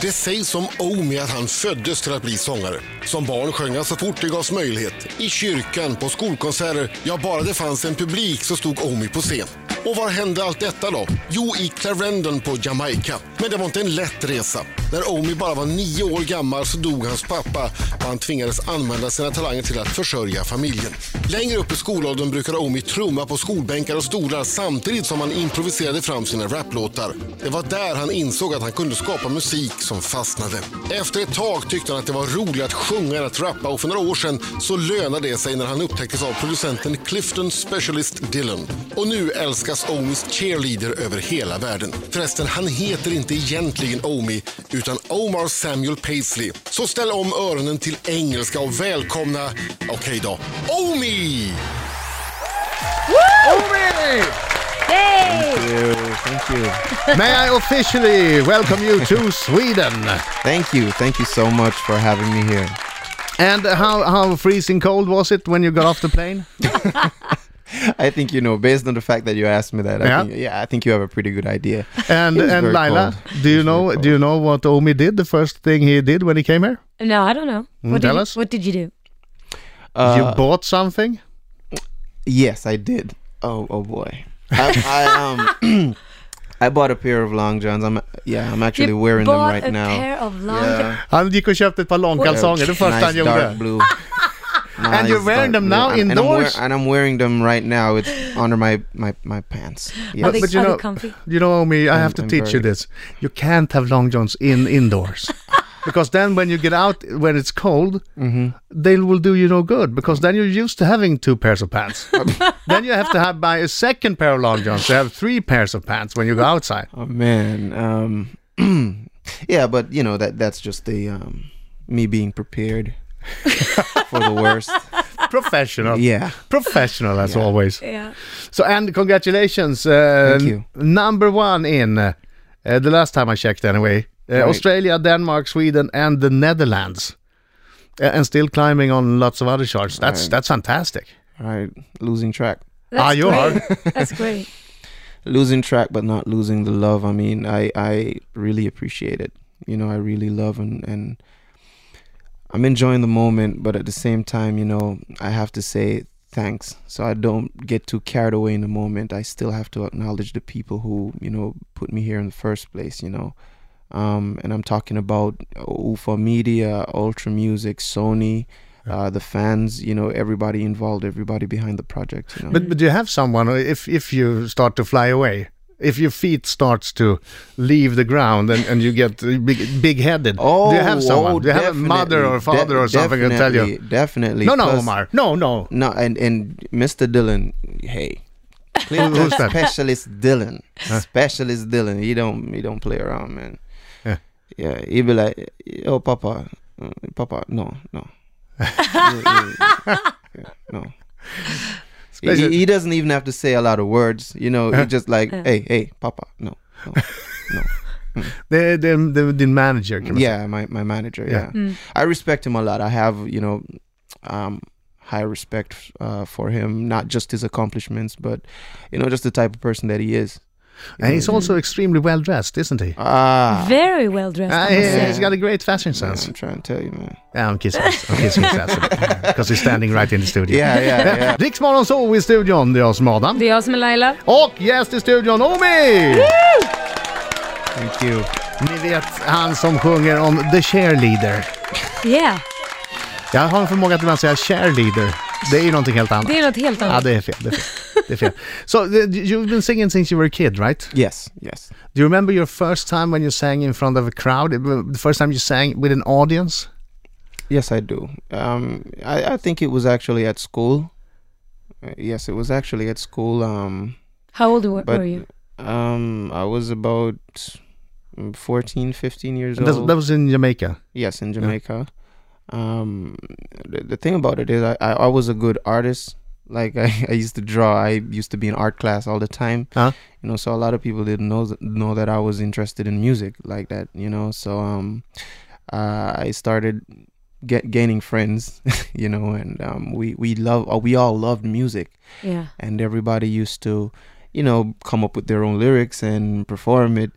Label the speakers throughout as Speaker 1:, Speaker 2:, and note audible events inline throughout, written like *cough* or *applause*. Speaker 1: Det sägs om Omi att han föddes till att bli sångare. Som barn sjöng han så fort det gavs möjlighet. I kyrkan, på skolkonserter, ja bara det fanns en publik så stod Omi på scen. Och var hände allt detta då? Jo, i Clarendon på Jamaica. Men det var inte en lätt resa. När Omi bara var nio år gammal så dog hans pappa och han tvingades använda sina talanger till att försörja familjen. Längre upp i skolåldern brukade Omi trumma på skolbänkar och stolar samtidigt som han improviserade fram sina raplåtar. Det var där han insåg att han kunde skapa musik som fastnade. Efter ett tag tyckte han att det var roligare att sjunga än att rappa och för några år sedan så lönade det sig när han upptäcktes av producenten Clifton Specialist Dylan. Och nu älskas Omis cheerleader över hela världen. Förresten, han heter inte egentligen Omi utan Omar Samuel Paisley. Så ställ om öronen till engelska och välkomna, okej då, Omi!
Speaker 2: Omi!
Speaker 3: Yay!
Speaker 4: you. Thank you.
Speaker 2: May I officially welcome you to Sweden?
Speaker 4: Thank you. Thank you so much for having me here.
Speaker 2: And how, how freezing cold was it when you got off the plane?
Speaker 4: I think you know, based on the fact that you asked me that,
Speaker 2: Yeah.
Speaker 4: I think, yeah, I think you have a pretty good idea.
Speaker 2: And
Speaker 4: It was
Speaker 2: and
Speaker 4: very
Speaker 2: Laila,
Speaker 4: cold.
Speaker 2: do
Speaker 4: It
Speaker 2: you
Speaker 4: was
Speaker 2: know
Speaker 4: very
Speaker 2: do you know what Omi did? The first thing he did when he came here,
Speaker 3: No, I don't know.
Speaker 2: Mm,
Speaker 3: What
Speaker 2: tell
Speaker 3: did you,
Speaker 2: us.
Speaker 3: what did you do?
Speaker 4: Uh,
Speaker 2: you bought something.
Speaker 4: yes, I did. Oh, oh boy. I, I um, *clears throat* I bought a pair of long johns. I'm yeah, I'm actually
Speaker 3: you
Speaker 4: wearing them
Speaker 3: bought
Speaker 4: right
Speaker 3: a
Speaker 4: now.
Speaker 3: pair of long
Speaker 4: yeah.
Speaker 2: Han gick och köpte ett par långkalsonger. Det första
Speaker 4: nice
Speaker 2: han
Speaker 4: dark
Speaker 2: gjorde. *laughs*
Speaker 4: blue.
Speaker 2: And you're wearing
Speaker 4: dark
Speaker 2: them
Speaker 4: blue.
Speaker 2: now
Speaker 4: I'm- and I'm, wear-
Speaker 2: indoors?
Speaker 4: and I'm wearing them right now. It's under my my my pants.
Speaker 3: Are
Speaker 4: Yes.
Speaker 3: they,
Speaker 2: But you
Speaker 3: are
Speaker 2: know-
Speaker 3: they comfy?
Speaker 2: You know, Omi, I have to
Speaker 4: I'm
Speaker 2: teach you
Speaker 4: very-
Speaker 2: this. You can't have long johns in
Speaker 4: *laughs*
Speaker 2: indoors. Because then when you get out when it's cold,
Speaker 4: Mm-hmm.
Speaker 2: they will do you no good. Because then you're used to having two pairs of pants.
Speaker 4: *laughs*
Speaker 2: then you have to have buy a second pair of long johns. You have three pairs of pants when you go outside.
Speaker 4: *laughs* Oh man, um, *clears throat* yeah, but you know that that's just the um, me being prepared *laughs* for the worst.
Speaker 2: Professional.
Speaker 4: Yeah,
Speaker 2: Professional as always.
Speaker 3: Yeah.
Speaker 2: So and congratulations. Uh,
Speaker 4: Thank you.
Speaker 2: n- Number one in uh, uh, the last time I checked anyway. Uh,
Speaker 4: Right.
Speaker 2: Australia, Denmark, Sweden, and the Netherlands, A- and still climbing on lots of other charts. That's
Speaker 4: Right.
Speaker 2: that's fantastic.
Speaker 4: all right, losing track,
Speaker 3: That's
Speaker 2: Ah, you
Speaker 3: great. *laughs* That's great.
Speaker 4: losing track, but not losing the love. I mean, I I really appreciate it. You know, I really love and and I'm enjoying the moment, but at the same time, you know, I have to say thanks. So I don't get too carried away in the moment. I still have to acknowledge the people who you know put me here in the first place. You know. um, and I'm talking about UFA Media, Ultra Music, Sony, uh, the fans, you know, everybody involved, everybody behind the project. You know?
Speaker 2: But but you have someone uh, if if you start to fly away, if your feet starts to leave the ground and, and you get uh, big big headed. do you have someone?
Speaker 4: oh,
Speaker 2: do you have a mother or a
Speaker 4: definitely,
Speaker 2: father or
Speaker 4: de-
Speaker 2: something to tell you?
Speaker 4: definitely, Definitely.
Speaker 2: No, no,
Speaker 4: Plus-
Speaker 2: Omar. No, no.
Speaker 4: No, and, and Mr. Dylan, hey. Clifton
Speaker 2: that?
Speaker 4: specialist Dylan. Specialist Dylan. He don't he don't play around, man.
Speaker 2: Yeah.
Speaker 4: Yeah, he be like, oh papa, uh, papa, no, no.
Speaker 2: *laughs*
Speaker 4: Yeah, yeah, yeah. Yeah, no. He,
Speaker 2: Special-
Speaker 4: he doesn't even have to say a lot of words, you know. He just like, hey, hey, papa, no, no, no.
Speaker 2: The the the, the manager. Can
Speaker 4: Yeah, my, my manager.
Speaker 2: Yeah.
Speaker 4: Yeah. I respect him a lot. I have, you know, um, high respect uh, for him, not just his accomplishments, but, you know, just the type of person that he is.
Speaker 2: And he's also
Speaker 4: Mm.
Speaker 2: extremely well dressed, isn't he?
Speaker 4: Ah.
Speaker 3: Very well dressed.
Speaker 2: Ah,
Speaker 3: I must
Speaker 2: he,
Speaker 3: say.
Speaker 2: he's got a great fashion
Speaker 4: yeah,
Speaker 2: sense.
Speaker 4: I'm trying to tell you, man.
Speaker 2: Yeah, I'm kissing, I'm kissing his ass
Speaker 4: *laughs*
Speaker 2: Because he's standing right in the studio.
Speaker 4: Yeah, yeah, *laughs* yeah.
Speaker 2: Riksmorgon så i studion, det är jag som är Adam.
Speaker 3: Det är jag som är Laila.
Speaker 2: Och gäst i studion, Omi!
Speaker 4: Thank you.
Speaker 2: Ni vet, han som sjunger om The Cheerleader.
Speaker 3: Yeah,
Speaker 2: Jag har en förmåga att ibland säga cheerleader. Det är ju någonting helt annat.
Speaker 3: det är något helt
Speaker 2: Ja,
Speaker 3: annat.
Speaker 2: Ah, det är fel. Det är fel. Det är fel. So, the- you've been singing since you were a kid, right?
Speaker 4: Yes, yes.
Speaker 2: Do you remember your first time when you sang in front of a crowd? The first time you sang with an audience?
Speaker 4: Yes, I do. Um, I, I think it was actually at school. Uh, yes, it was actually at school. Um,
Speaker 3: How old were,
Speaker 4: but
Speaker 3: were you?
Speaker 4: um, I was about mm, 14, 15 years
Speaker 2: That,
Speaker 4: old.
Speaker 2: that was in Jamaica.
Speaker 4: Yes, in Jamaica. Um, the, the thing about it is, I, I, I was a good artist. Like *laughs* I, I used to draw. I used to be in art class all the time.
Speaker 2: Huh?
Speaker 4: You know, so a lot of people didn't know th- know that I was interested in music like that. You know, so um, uh, I started get gaining friends. *laughs* you know, and um, we we love uh, we all loved music
Speaker 3: Yeah.
Speaker 4: and everybody used to you know come up with their own lyrics and perform it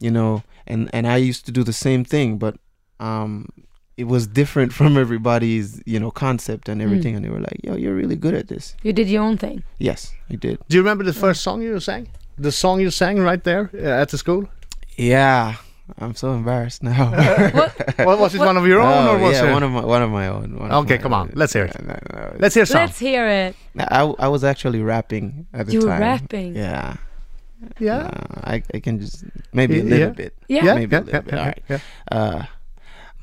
Speaker 4: you know and and i used to do the same thing but um it was different *laughs* from everybody's you know concept and
Speaker 2: Hmm.
Speaker 4: everything and they were like yo you're really good at this
Speaker 3: You did your own thing.
Speaker 4: yes i did
Speaker 2: Do you remember the first song you sang? The song you sang right there uh, at the
Speaker 4: *laughs*
Speaker 2: school?
Speaker 4: yeah i'm so embarrassed
Speaker 2: *laughs*
Speaker 4: now
Speaker 3: What?
Speaker 2: Well, was it one of your own
Speaker 4: *laughs* Oh,
Speaker 2: or was
Speaker 4: yeah,
Speaker 2: it?
Speaker 4: one of my one of my own one of
Speaker 2: Okay,
Speaker 4: my
Speaker 2: come on,
Speaker 4: own.
Speaker 2: let's hear it.
Speaker 4: No, no, no,
Speaker 2: Let's hear some.
Speaker 3: Let's hear it.
Speaker 4: I, I was actually rapping at the
Speaker 3: You were
Speaker 4: time.
Speaker 3: rapping.
Speaker 4: Yeah.
Speaker 2: Yeah.
Speaker 4: Uh, I, I can just maybe
Speaker 2: Y-
Speaker 4: a little
Speaker 2: yeah.
Speaker 4: bit.
Speaker 3: Yeah.
Speaker 2: Yeah,
Speaker 4: Maybe a
Speaker 2: yeah,
Speaker 4: little
Speaker 2: yeah,
Speaker 4: bit.
Speaker 2: yeah,
Speaker 4: All right.
Speaker 2: yeah.
Speaker 4: Uh,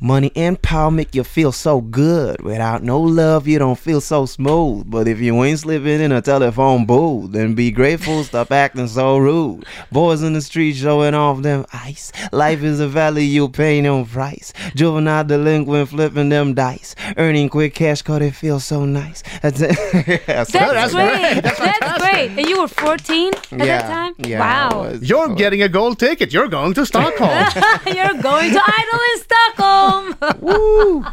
Speaker 4: money and power make you feel so good. Without no love, you don't feel so smooth. But if you ain't slipping in a telephone booth, then be grateful. Stop acting so rude. Boys in the street showing off them ice. Life is a valley, you pay no price. Juvenile delinquent flipping them dice. Earning quick cash, cause it feels so nice. That's it. *laughs* That's
Speaker 3: That's great. That's, great. And you were 14 at that time?
Speaker 4: Yeah, I
Speaker 3: wow.
Speaker 4: was- I
Speaker 2: You're
Speaker 4: was-
Speaker 2: getting a gold ticket. You're going to Stockholm.
Speaker 3: *laughs* You're going to Idol in Stockholm.
Speaker 2: *laughs* Lila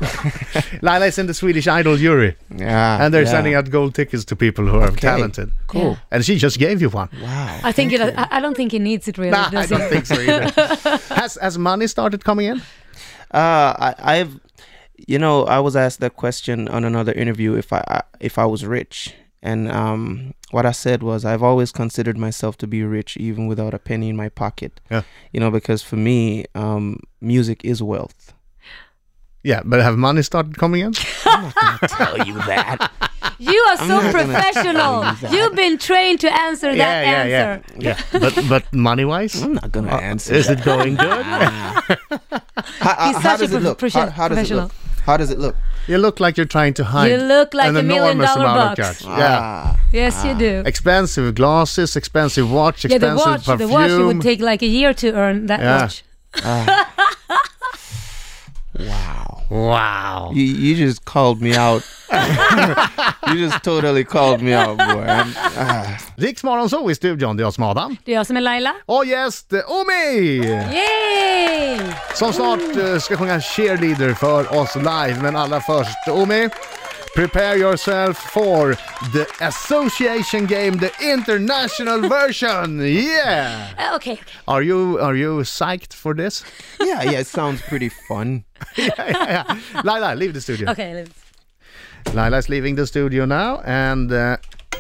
Speaker 2: is in the Swedish Idol jury,
Speaker 4: Yeah.
Speaker 2: and they're
Speaker 4: yeah.
Speaker 2: sending out gold tickets to people who are talented.
Speaker 4: Cool.
Speaker 2: And she just gave you one.
Speaker 4: Wow.
Speaker 3: I think it, I, I don't think he needs it really.
Speaker 2: Nah, I
Speaker 3: does
Speaker 2: don't
Speaker 3: he?
Speaker 2: think so either.
Speaker 3: *laughs*
Speaker 2: has, has money started coming in?
Speaker 4: Uh, I, I've, you know, I was asked that question on another interview if I, I if I was rich, and um, what I said was I've always considered myself to be rich even without a penny in my pocket.
Speaker 2: Yeah.
Speaker 4: You know, because for me, um, music is wealth.
Speaker 2: Yeah, but have money started coming
Speaker 3: *laughs*
Speaker 2: in?
Speaker 4: Tell you *laughs* that.
Speaker 3: You are so professional. You've been trained to answer that
Speaker 2: yeah, yeah,
Speaker 3: answer.
Speaker 2: yeah, yeah. But but money wise,
Speaker 4: I'm not gonna answer.
Speaker 2: is
Speaker 4: that.
Speaker 2: it going good?
Speaker 4: How, how-
Speaker 3: He's
Speaker 4: how
Speaker 3: such a
Speaker 4: does it look?
Speaker 3: prof-
Speaker 4: How,
Speaker 3: profession-
Speaker 4: how does it look? How does it look?
Speaker 2: you look like you're trying to hide.
Speaker 3: You look like
Speaker 2: an
Speaker 3: a million
Speaker 2: enormous
Speaker 3: dollar
Speaker 2: amount
Speaker 3: box.
Speaker 2: of cash. Yeah.
Speaker 4: Ah.
Speaker 3: Yes, you do.
Speaker 2: Expensive glasses, expensive watch,
Speaker 3: Yeah,
Speaker 2: expensive
Speaker 3: the watch,
Speaker 2: perfume.
Speaker 3: the watch, it would take like a year to earn that
Speaker 2: Yeah.
Speaker 3: watch.
Speaker 4: Wow.
Speaker 2: wow.
Speaker 4: You, you just called me out. *laughs* you just totally called me out, boy. I'm, ah.
Speaker 2: Riksmorgon så i studion, det är jag som är Adam.
Speaker 3: Det är jag som är Laila.
Speaker 2: Och gäst eh, Omi!
Speaker 3: Yay!
Speaker 2: Som snart
Speaker 3: Mm.
Speaker 2: eh, ska sjunga cheerleader för oss live. Men allra först, Omi. Prepare yourself for the association game, the international
Speaker 3: *laughs*
Speaker 2: version! Yeah!
Speaker 3: Uh, okay, okay.
Speaker 2: Are you, are you psyched for this? *laughs*
Speaker 4: yeah, yeah, it sounds pretty fun.
Speaker 2: Laila, leave the studio.
Speaker 3: Okay, let's-
Speaker 2: Laila is leaving the studio now and uh,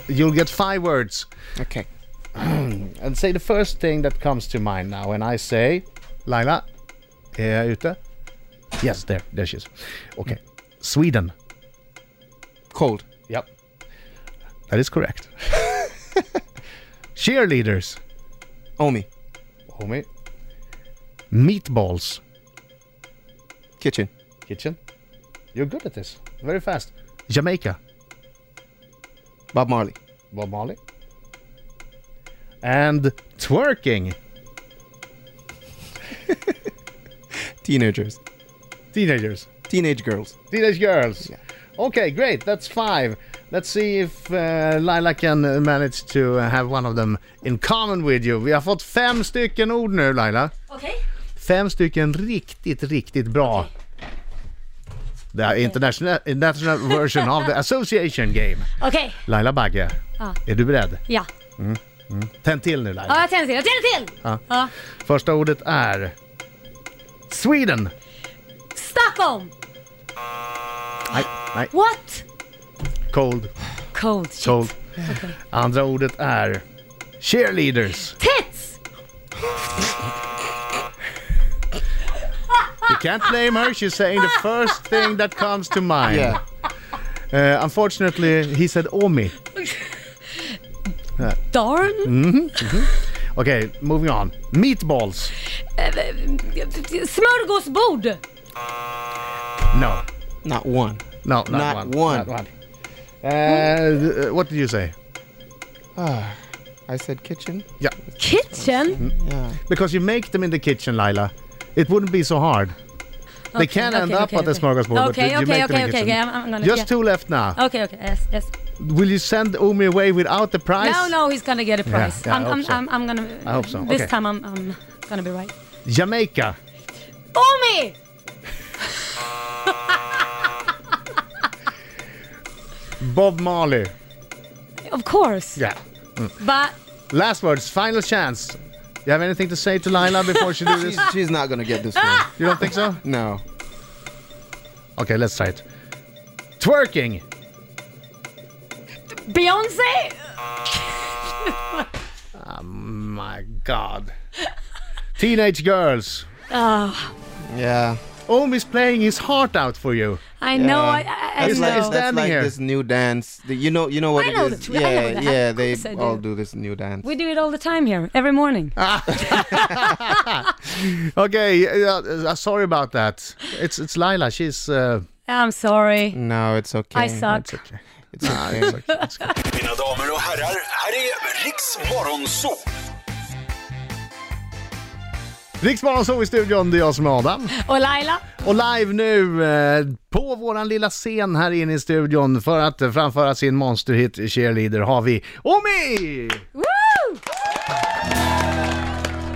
Speaker 2: you'll get five words.
Speaker 4: Okay.
Speaker 2: And say the first thing that comes to mind now and I say Laila, är jag ute? Yes, there, there she is. Okay. Sweden.
Speaker 4: Cold.
Speaker 2: Yep. That is correct. Cheerleaders.
Speaker 4: Omi.
Speaker 2: Homie. Meatballs.
Speaker 4: Kitchen.
Speaker 2: Kitchen. You're good at this. Very fast. Jamaica.
Speaker 4: Bob Marley.
Speaker 2: Bob Marley. And twerking.
Speaker 4: Teenagers.
Speaker 2: Teenagers.
Speaker 4: Teenage girls.
Speaker 2: Teenage girls. Okay, great. That's five. Let's see if uh, Laila can uh, manage to uh, have one of them in common with you. Vi har fått fem stycken ord nu Laila.
Speaker 3: okay.
Speaker 2: Fem stycken riktigt, riktigt bra. The international, international version of the association game.
Speaker 3: okay.
Speaker 2: Laila Bagge,
Speaker 3: Ja.
Speaker 2: är du beredd?
Speaker 3: Ja.
Speaker 2: Tänd till nu Laila.
Speaker 3: Ja, jag tänder till. Jag tänder till!
Speaker 2: Ja.
Speaker 3: Ja.
Speaker 2: Första ordet är Sweden.
Speaker 3: Stockholm!
Speaker 2: Nej, nej.
Speaker 3: What?
Speaker 2: Cold,
Speaker 3: Cold. Shit.
Speaker 2: cold. Andra ordet är cheerleaders.
Speaker 3: Tits!
Speaker 2: You can't blame her. She's saying the first thing that comes to mind.
Speaker 4: Yeah.
Speaker 2: Uh, unfortunately, he said "Oh, Omi.
Speaker 3: Darn!
Speaker 2: Mm. Okay, moving on. Meatballs.
Speaker 3: uh, Smörgåsbord!
Speaker 2: No,
Speaker 4: Not one.
Speaker 2: no, not,
Speaker 4: Not
Speaker 2: one.
Speaker 4: one.
Speaker 2: Not one. Uh, th- uh, what did you say?
Speaker 4: Ah, I said kitchen.
Speaker 2: Yeah,
Speaker 3: Kitchen?
Speaker 2: Mm.
Speaker 4: Yeah.
Speaker 2: because you make them in the kitchen, Lila. It wouldn't be so hard. they can
Speaker 3: okay,
Speaker 2: end up
Speaker 3: okay,
Speaker 2: at the
Speaker 3: okay.
Speaker 2: smorgasbord,
Speaker 3: Okay,
Speaker 2: but you
Speaker 3: okay,
Speaker 2: make them
Speaker 3: okay,
Speaker 2: in the
Speaker 3: okay,
Speaker 2: kitchen.
Speaker 3: okay, I'm- I'm gonna- Oh.
Speaker 2: Just
Speaker 3: yeah.
Speaker 2: two left now.
Speaker 3: Okay, okay, yes, yes.
Speaker 2: Will you send Omi away without the prize?
Speaker 3: No, no, he's gonna get a prize.
Speaker 2: yeah, I
Speaker 3: I'm,
Speaker 2: hope
Speaker 3: I'm,
Speaker 2: so.
Speaker 3: I'm, I'm gonna.
Speaker 2: I hope so,
Speaker 3: This
Speaker 2: okay.
Speaker 3: time I'm, I'm gonna be right.
Speaker 2: Jamaica.
Speaker 3: Omi!
Speaker 2: Bob Marley.
Speaker 3: Of course.
Speaker 2: Yeah.
Speaker 3: But
Speaker 2: Last words. Final chance. You have anything to say to Lila before she do
Speaker 5: She's,
Speaker 2: this?
Speaker 5: she's not gonna get
Speaker 4: *laughs*
Speaker 5: this one.
Speaker 2: You don't think so?
Speaker 5: No.
Speaker 2: Okay, let's try it. Twerking.
Speaker 3: Beyonce?
Speaker 2: My God. Teenage girls.
Speaker 3: Oh,
Speaker 5: Yeah.
Speaker 2: Omi's playing his heart out for you.
Speaker 3: I know.
Speaker 5: Yeah.
Speaker 3: I, I, I
Speaker 5: That's
Speaker 2: It's
Speaker 5: like,
Speaker 2: like-
Speaker 3: know.
Speaker 2: it's
Speaker 5: that's
Speaker 2: standing
Speaker 5: like
Speaker 2: here.
Speaker 5: this new dance. The- you know, you know what
Speaker 3: I
Speaker 5: it
Speaker 3: know
Speaker 5: is.
Speaker 3: the tw- I know
Speaker 5: yeah,
Speaker 3: that.
Speaker 5: yeah.
Speaker 3: Of
Speaker 5: They
Speaker 3: course I do.
Speaker 5: all do this new dance.
Speaker 3: we do it all the time here, every morning.
Speaker 5: Ah.
Speaker 2: Okay, uh, uh, sorry about that. It's it's Lila. She's. Uh,
Speaker 3: I'm sorry.
Speaker 5: no, it's okay.
Speaker 3: I suck.
Speaker 5: It's okay.
Speaker 6: Mina damer och herrar, här är Riks Morgonzoo!
Speaker 2: Riksmorgon så i studion, det är jag som är Adam.
Speaker 3: Och Oh, Laila?
Speaker 2: Och live nu eh, på våran lilla scen här inne i studion för att eh, framföra sin monsterhit Cheerleader har vi Omi!
Speaker 3: Woo!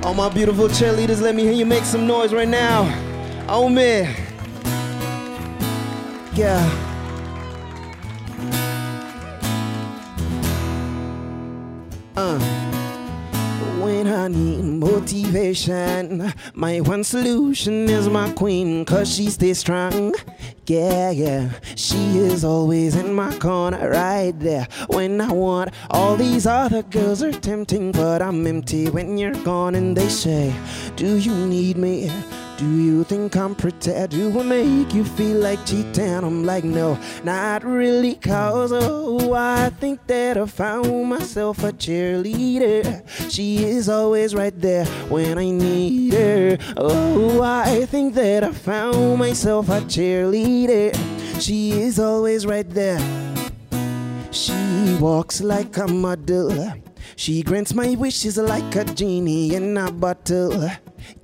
Speaker 5: all my beautiful cheerleaders, let me hear you make some noise right now. Oh man. Yeah. Uh. When I need motivation, my one solution is my queen, cause she stays strong. Yeah, yeah, she is always in my corner, right there when I want. All these other girls are tempting, but I'm empty when you're gone, and they say, Do you need me? Do you think I'm pretty? Do I make you feel like cheating? I'm like, no, not really, cause oh, I think that I found myself a cheerleader. She is always right there when I need her. Oh, I think that I found myself a cheerleader. She is always right there. She walks like a model. She grants my wishes like a genie in a bottle.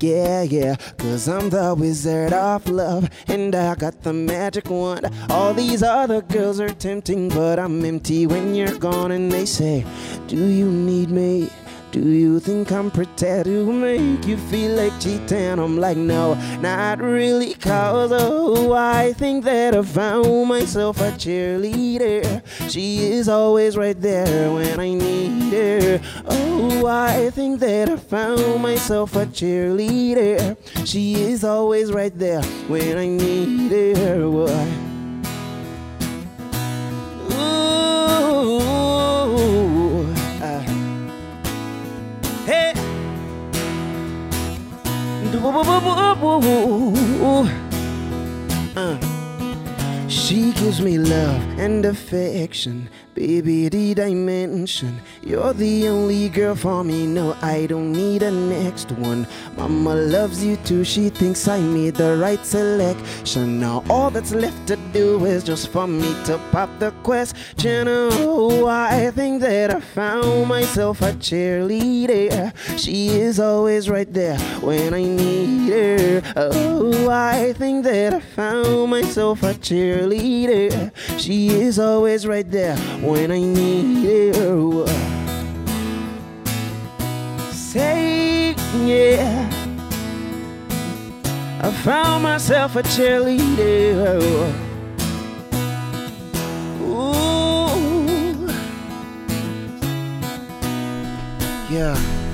Speaker 5: Yeah, yeah, cause I'm the wizard of love and I got the magic wand. All these other girls are tempting, but I'm empty when you're gone and they say, Do you need me? Do you think I'm pretty to make you feel like cheating? I'm like, no, not really, cause oh, I think that I found myself a cheerleader. She is always right there when I need her. Oh, I think that I found myself a cheerleader. She is always right there when I need her. Why? Ooh, ah. Hey. Do-bo-bo-bo-bo-bo. Uh. She gives me love and affection, baby, the dimension. You're the only girl for me, no, I don't need a next one. Mama loves you too, she thinks I made the right selection. Now all that's left to do is just for me to pop the question. Oh, I think that I found myself a cheerleader. She is always right there when I need her. Oh, I think that I found myself a cheerleader. She is always right there when I need her. Say, yeah. I found myself a cheerleader. Ooh. Yeah.